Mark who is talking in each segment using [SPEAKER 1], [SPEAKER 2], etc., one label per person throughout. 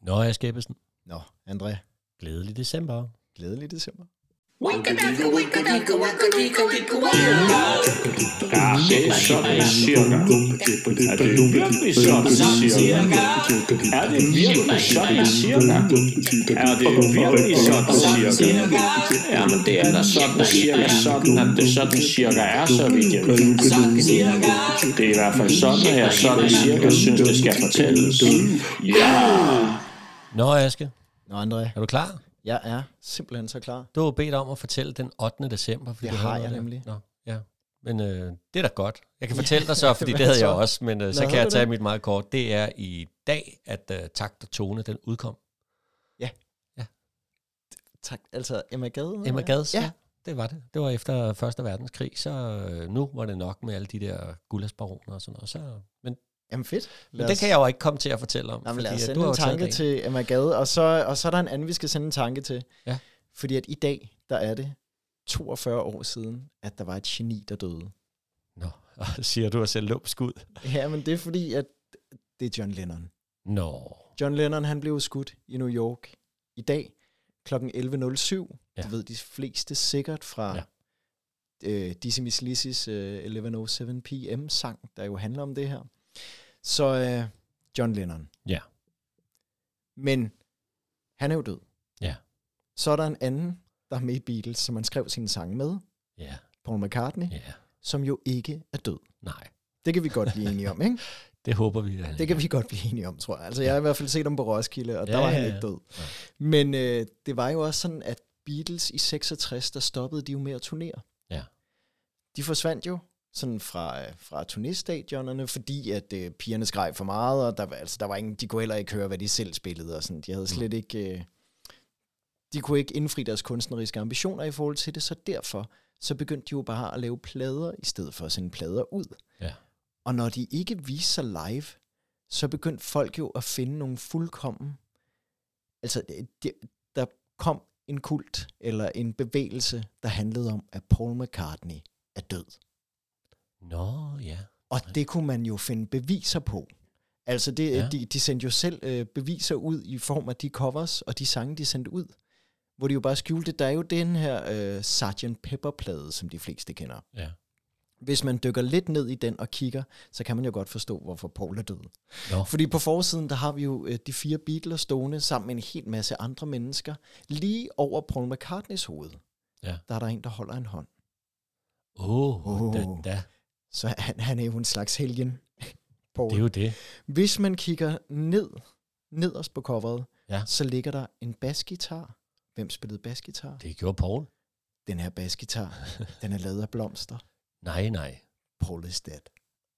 [SPEAKER 1] Nå, jeg skæbesen.
[SPEAKER 2] Nå, André,
[SPEAKER 1] Glædelig december.
[SPEAKER 2] glædelig december.
[SPEAKER 3] Det er sådan cirka. Er det virkelig sådan cirka? Er det virkelig sådan cirka? Er det virkelig sådan cirka? Ja, men det er da sådan cirka sådan, at det sådan cirka er, så vidt jeg ved. Det er i hvert fald sådan, at jeg sådan cirka synes, det skal fortælles. Ja!
[SPEAKER 1] Nå, Aske,
[SPEAKER 2] Nå, André,
[SPEAKER 1] er du klar?
[SPEAKER 2] jeg er simpelthen så klar.
[SPEAKER 1] Du har jo bedt om at fortælle den 8. december. Fordi
[SPEAKER 2] Det
[SPEAKER 1] du
[SPEAKER 2] har
[SPEAKER 1] havde
[SPEAKER 2] jeg
[SPEAKER 1] noget der.
[SPEAKER 2] nemlig.
[SPEAKER 1] Nå, ja. Men øh, det er da godt. Jeg kan fortælle dig så, fordi det havde jeg
[SPEAKER 2] så?
[SPEAKER 1] også, men øh, så
[SPEAKER 2] Hvad
[SPEAKER 1] kan
[SPEAKER 2] havde
[SPEAKER 1] jeg
[SPEAKER 2] du
[SPEAKER 1] tage
[SPEAKER 2] det?
[SPEAKER 1] mit meget kort. Det er i dag, at øh, Takt og Tone, den udkom.
[SPEAKER 2] Tak. Altså, Emma Gade?
[SPEAKER 1] Emma Gads,
[SPEAKER 2] Ja.
[SPEAKER 1] det var det. Det var efter Første Verdenskrig, så øh, nu var det nok med alle de der gulasbaroner og sådan noget. Så, men
[SPEAKER 2] Jamen fedt.
[SPEAKER 1] men den kan jeg jo ikke komme til at fortælle om,
[SPEAKER 2] Nå, men lad os
[SPEAKER 1] at
[SPEAKER 2] sende
[SPEAKER 1] har
[SPEAKER 2] en
[SPEAKER 1] jo taget
[SPEAKER 2] tanke
[SPEAKER 1] dagen.
[SPEAKER 2] til Emma Gade, og så, og så er der en anden, vi skal sende en tanke til.
[SPEAKER 1] Ja.
[SPEAKER 2] Fordi at i dag, der er det 42 år siden, at der var et geni, der døde.
[SPEAKER 1] Nå, og siger du at selv lumsk ud?
[SPEAKER 2] Ja, men det er fordi, at det er John Lennon.
[SPEAKER 1] Nå,
[SPEAKER 2] John Lennon, han blev skudt i New York i dag kl. 11.07.
[SPEAKER 1] Ja.
[SPEAKER 2] Det ved de fleste sikkert fra
[SPEAKER 1] Ja.
[SPEAKER 2] ja. øh, Dizzy Miss Lizzie's øh, 11.07 p.m. sang, der jo handler om det her. Så øh, John Lennon.
[SPEAKER 1] Ja.
[SPEAKER 2] Men han er jo død.
[SPEAKER 1] Ja.
[SPEAKER 2] Så er der en anden, der er med i Beatles, som han skrev sine sange med,
[SPEAKER 1] ja,
[SPEAKER 2] Paul McCartney, ja.
[SPEAKER 1] ja,
[SPEAKER 2] som jo ikke er død.
[SPEAKER 1] nej.
[SPEAKER 2] Det kan vi godt blive enige om, ikke?
[SPEAKER 1] Det håber vi, at han
[SPEAKER 2] Det kan vi godt blive enige om, tror jeg. Altså, jeg har i hvert fald set ham på Roskilde, og der
[SPEAKER 1] Ja,
[SPEAKER 2] ja, var
[SPEAKER 1] ja,
[SPEAKER 2] han
[SPEAKER 1] ja.
[SPEAKER 2] ikke død.
[SPEAKER 1] Nej.
[SPEAKER 2] Men øh, det var jo også sådan, at Beatles i 66, der stoppede de jo med at turnere.
[SPEAKER 1] Ja.
[SPEAKER 2] De forsvandt jo sådan fra, øh, fra turnéstadionerne, fordi at øh, pigerne skreg for meget, og der, var- altså, der var ingen, de kunne heller ikke høre, hvad de selv spillede. Og sådan. De
[SPEAKER 1] Mm.
[SPEAKER 2] havde slet ikke... Øh, de kunne ikke indfri deres kunstneriske ambitioner i forhold til det, så derfor så begyndte de jo bare at lave plader, i stedet for at sende plader ud.
[SPEAKER 1] Ja.
[SPEAKER 2] Og når de ikke viste sig live, så begyndte folk jo at finde nogle fuldkommen... Altså, de, der kom en kult eller en bevægelse, der handlede om, at Paul McCartney er død.
[SPEAKER 1] Nå, ja.
[SPEAKER 2] Og det kunne man jo finde beviser på. Altså, det,
[SPEAKER 1] Ja.
[SPEAKER 2] ja. de, de sendte jo selv øh, beviser ud i form af de covers og de sange, de sendte ud. Hvor de jo bare skjulte det. Der er jo den her øh, Sgt. Pepper-plade, som de fleste kender.
[SPEAKER 1] Ja.
[SPEAKER 2] Hvis man dykker lidt ned i den og kigger, så kan man jo godt forstå, hvorfor Paul er død.
[SPEAKER 1] Nå.
[SPEAKER 2] Fordi på forsiden, der har vi jo øh, de fire Beatles stående sammen med en hel masse andre mennesker. Lige over Paul McCartneys hoved,
[SPEAKER 1] Ja.
[SPEAKER 2] der er der en, der holder en hånd.
[SPEAKER 1] Åh, oh,
[SPEAKER 2] Åh.
[SPEAKER 1] da, da.
[SPEAKER 2] Så han, han er jo en slags helgen.
[SPEAKER 1] Det er
[SPEAKER 2] Paul.
[SPEAKER 1] jo det.
[SPEAKER 2] Hvis man kigger ned, nederst på coveret,
[SPEAKER 1] Ja.
[SPEAKER 2] så ligger der en basgitar. Hvem spillede basgitar?
[SPEAKER 1] Det gjorde Paul.
[SPEAKER 2] Den her basgitar, den er lavet af blomster.
[SPEAKER 1] Nej, nej.
[SPEAKER 2] Paul is dead.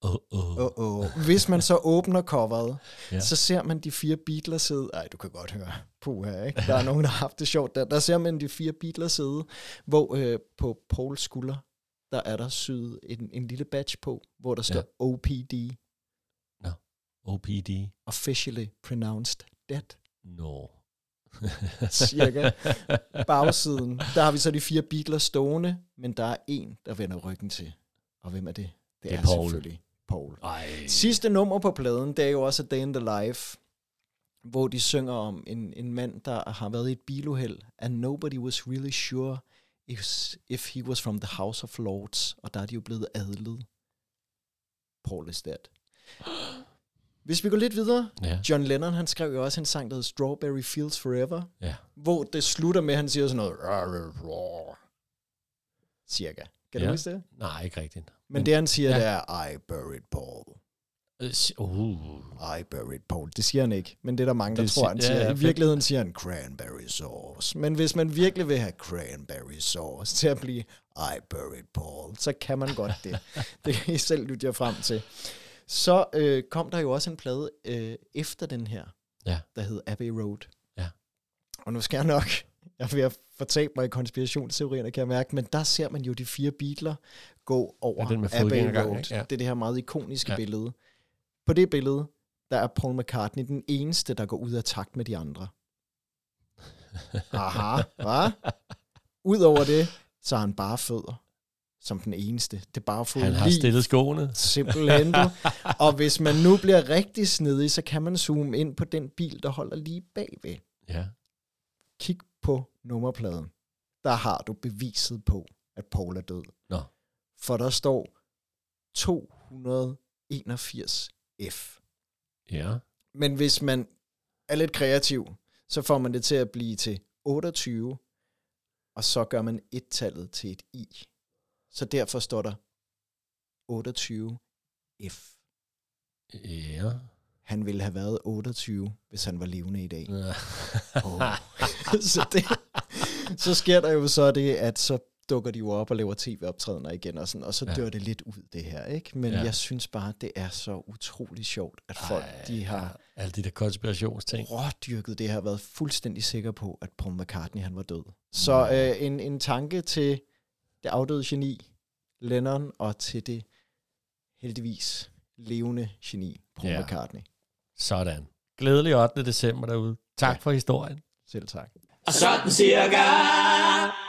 [SPEAKER 1] Åh, åh.
[SPEAKER 2] Oh, oh. Hvis man så åbner coveret,
[SPEAKER 1] Ja.
[SPEAKER 2] ja. så ser man de fire Beatles sidde. Ej, du kan godt høre. Puha, ikke? Der er nogen, der har haft det sjovt. Der, der ser man de fire Beatles sidde, hvor øh, på Pauls skulder, der er der syet en, en lille badge på, hvor der står
[SPEAKER 1] Ja.
[SPEAKER 2] ja. OPD,
[SPEAKER 1] OPD.
[SPEAKER 2] officially pronounced dead,
[SPEAKER 1] Nå.
[SPEAKER 2] cirka. Bagsiden, der har vi så de fire Beatles stående, men der er en, der vender ryggen til. Og hvem er det? Det,
[SPEAKER 1] er Paul.
[SPEAKER 2] selvfølgelig Paul.
[SPEAKER 1] Ej.
[SPEAKER 2] Sidste nummer på pladen, det er jo også A Day in the Life, hvor de synger om en, en mand, der har været i et biluheld, and nobody was really sure if, if he was from the House of Lords, og der er de jo blevet adlet. Paul is dead. Hvis vi går lidt videre,
[SPEAKER 1] Ja.
[SPEAKER 2] John Lennon, han skrev jo også en sang, der hedder Strawberry Fields Forever,
[SPEAKER 1] Ja.
[SPEAKER 2] hvor det slutter med, at han siger sådan noget, "Rar, rar, rar." cirka. Kan du
[SPEAKER 1] Ja.
[SPEAKER 2] huske det?
[SPEAKER 1] Nej, ikke rigtigt.
[SPEAKER 2] Men det, han siger,
[SPEAKER 1] Ja.
[SPEAKER 2] ja. det er, I buried Paul.
[SPEAKER 1] Øh, s- Uh.
[SPEAKER 2] I buried Paul. Det siger han ikke, men det er der mange, der
[SPEAKER 1] Det
[SPEAKER 2] det
[SPEAKER 1] si-
[SPEAKER 2] tror, han
[SPEAKER 1] ja,
[SPEAKER 2] siger.
[SPEAKER 1] ja,
[SPEAKER 2] Ja, I
[SPEAKER 1] fedt.
[SPEAKER 2] virkeligheden siger han cranberry sauce. Men hvis man virkelig vil have cranberry sauce til at blive I buried Paul, så kan man godt det. det kan I selv lytte jer frem til. Så øh, kom der jo også en plade øh, efter den her,
[SPEAKER 1] Ja.
[SPEAKER 2] der hed Abbey Road.
[SPEAKER 1] Ja.
[SPEAKER 2] Og nu skal jeg nok, jeg er ved at fortabe mig i konspirationsteorierne, kan jeg mærke, men der ser man jo de fire Beatles gå over
[SPEAKER 1] Ja, den med
[SPEAKER 2] Abbey
[SPEAKER 1] fodgængergangen,
[SPEAKER 2] Road.
[SPEAKER 1] ikke? Ja.
[SPEAKER 2] Ja. Det er det her meget ikoniske
[SPEAKER 1] Ja.
[SPEAKER 2] ja. billede. På det billede, der er Paul McCartney den eneste, der går ud af takt med de andre. Aha, hva? Udover det, så har han bare fødder. som den eneste. Det er bare
[SPEAKER 1] Han har
[SPEAKER 2] lige
[SPEAKER 1] stillet skoene.
[SPEAKER 2] simpelthen. Du. Og hvis man nu bliver rigtig snedig, så kan man zoome ind på den bil, der holder lige bagved.
[SPEAKER 1] Ja.
[SPEAKER 2] Kig på nummerpladen. Der har du beviset på, at Paul er død.
[SPEAKER 1] Nå.
[SPEAKER 2] For der står 281F.
[SPEAKER 1] Ja.
[SPEAKER 2] Men hvis man er lidt kreativ, så får man det til at blive til 28, og så gør man et-tallet til et i. Så derfor står der 28F.
[SPEAKER 1] Ja.
[SPEAKER 2] Han ville have været 28, hvis han var levende i dag.
[SPEAKER 1] Nå.
[SPEAKER 2] Oh. så, det, så sker der jo så det, at så dukker de jo op og laver tv-optrædener igen, og, sådan, og så
[SPEAKER 1] Ja.
[SPEAKER 2] ja. dør det lidt ud, det her. ikke? Men
[SPEAKER 1] Ja.
[SPEAKER 2] ja. jeg synes bare, det er så utrolig sjovt, at folk
[SPEAKER 1] Ej,
[SPEAKER 2] de har
[SPEAKER 1] ja. Alle de der konspirationsting.
[SPEAKER 2] rådyrket det her, været fuldstændig sikker på, at Paul McCartney han var død.
[SPEAKER 1] Mm.
[SPEAKER 2] Så øh, en, en tanke til det afdøde geni, Lennon, og til det heldigvis levende geni, Paul
[SPEAKER 1] Ja.
[SPEAKER 2] ja. McCartney.
[SPEAKER 1] Sådan. Glædelig 8. december derude. Tak ja. for historien.
[SPEAKER 2] Selv tak.
[SPEAKER 3] Og sådan cirka.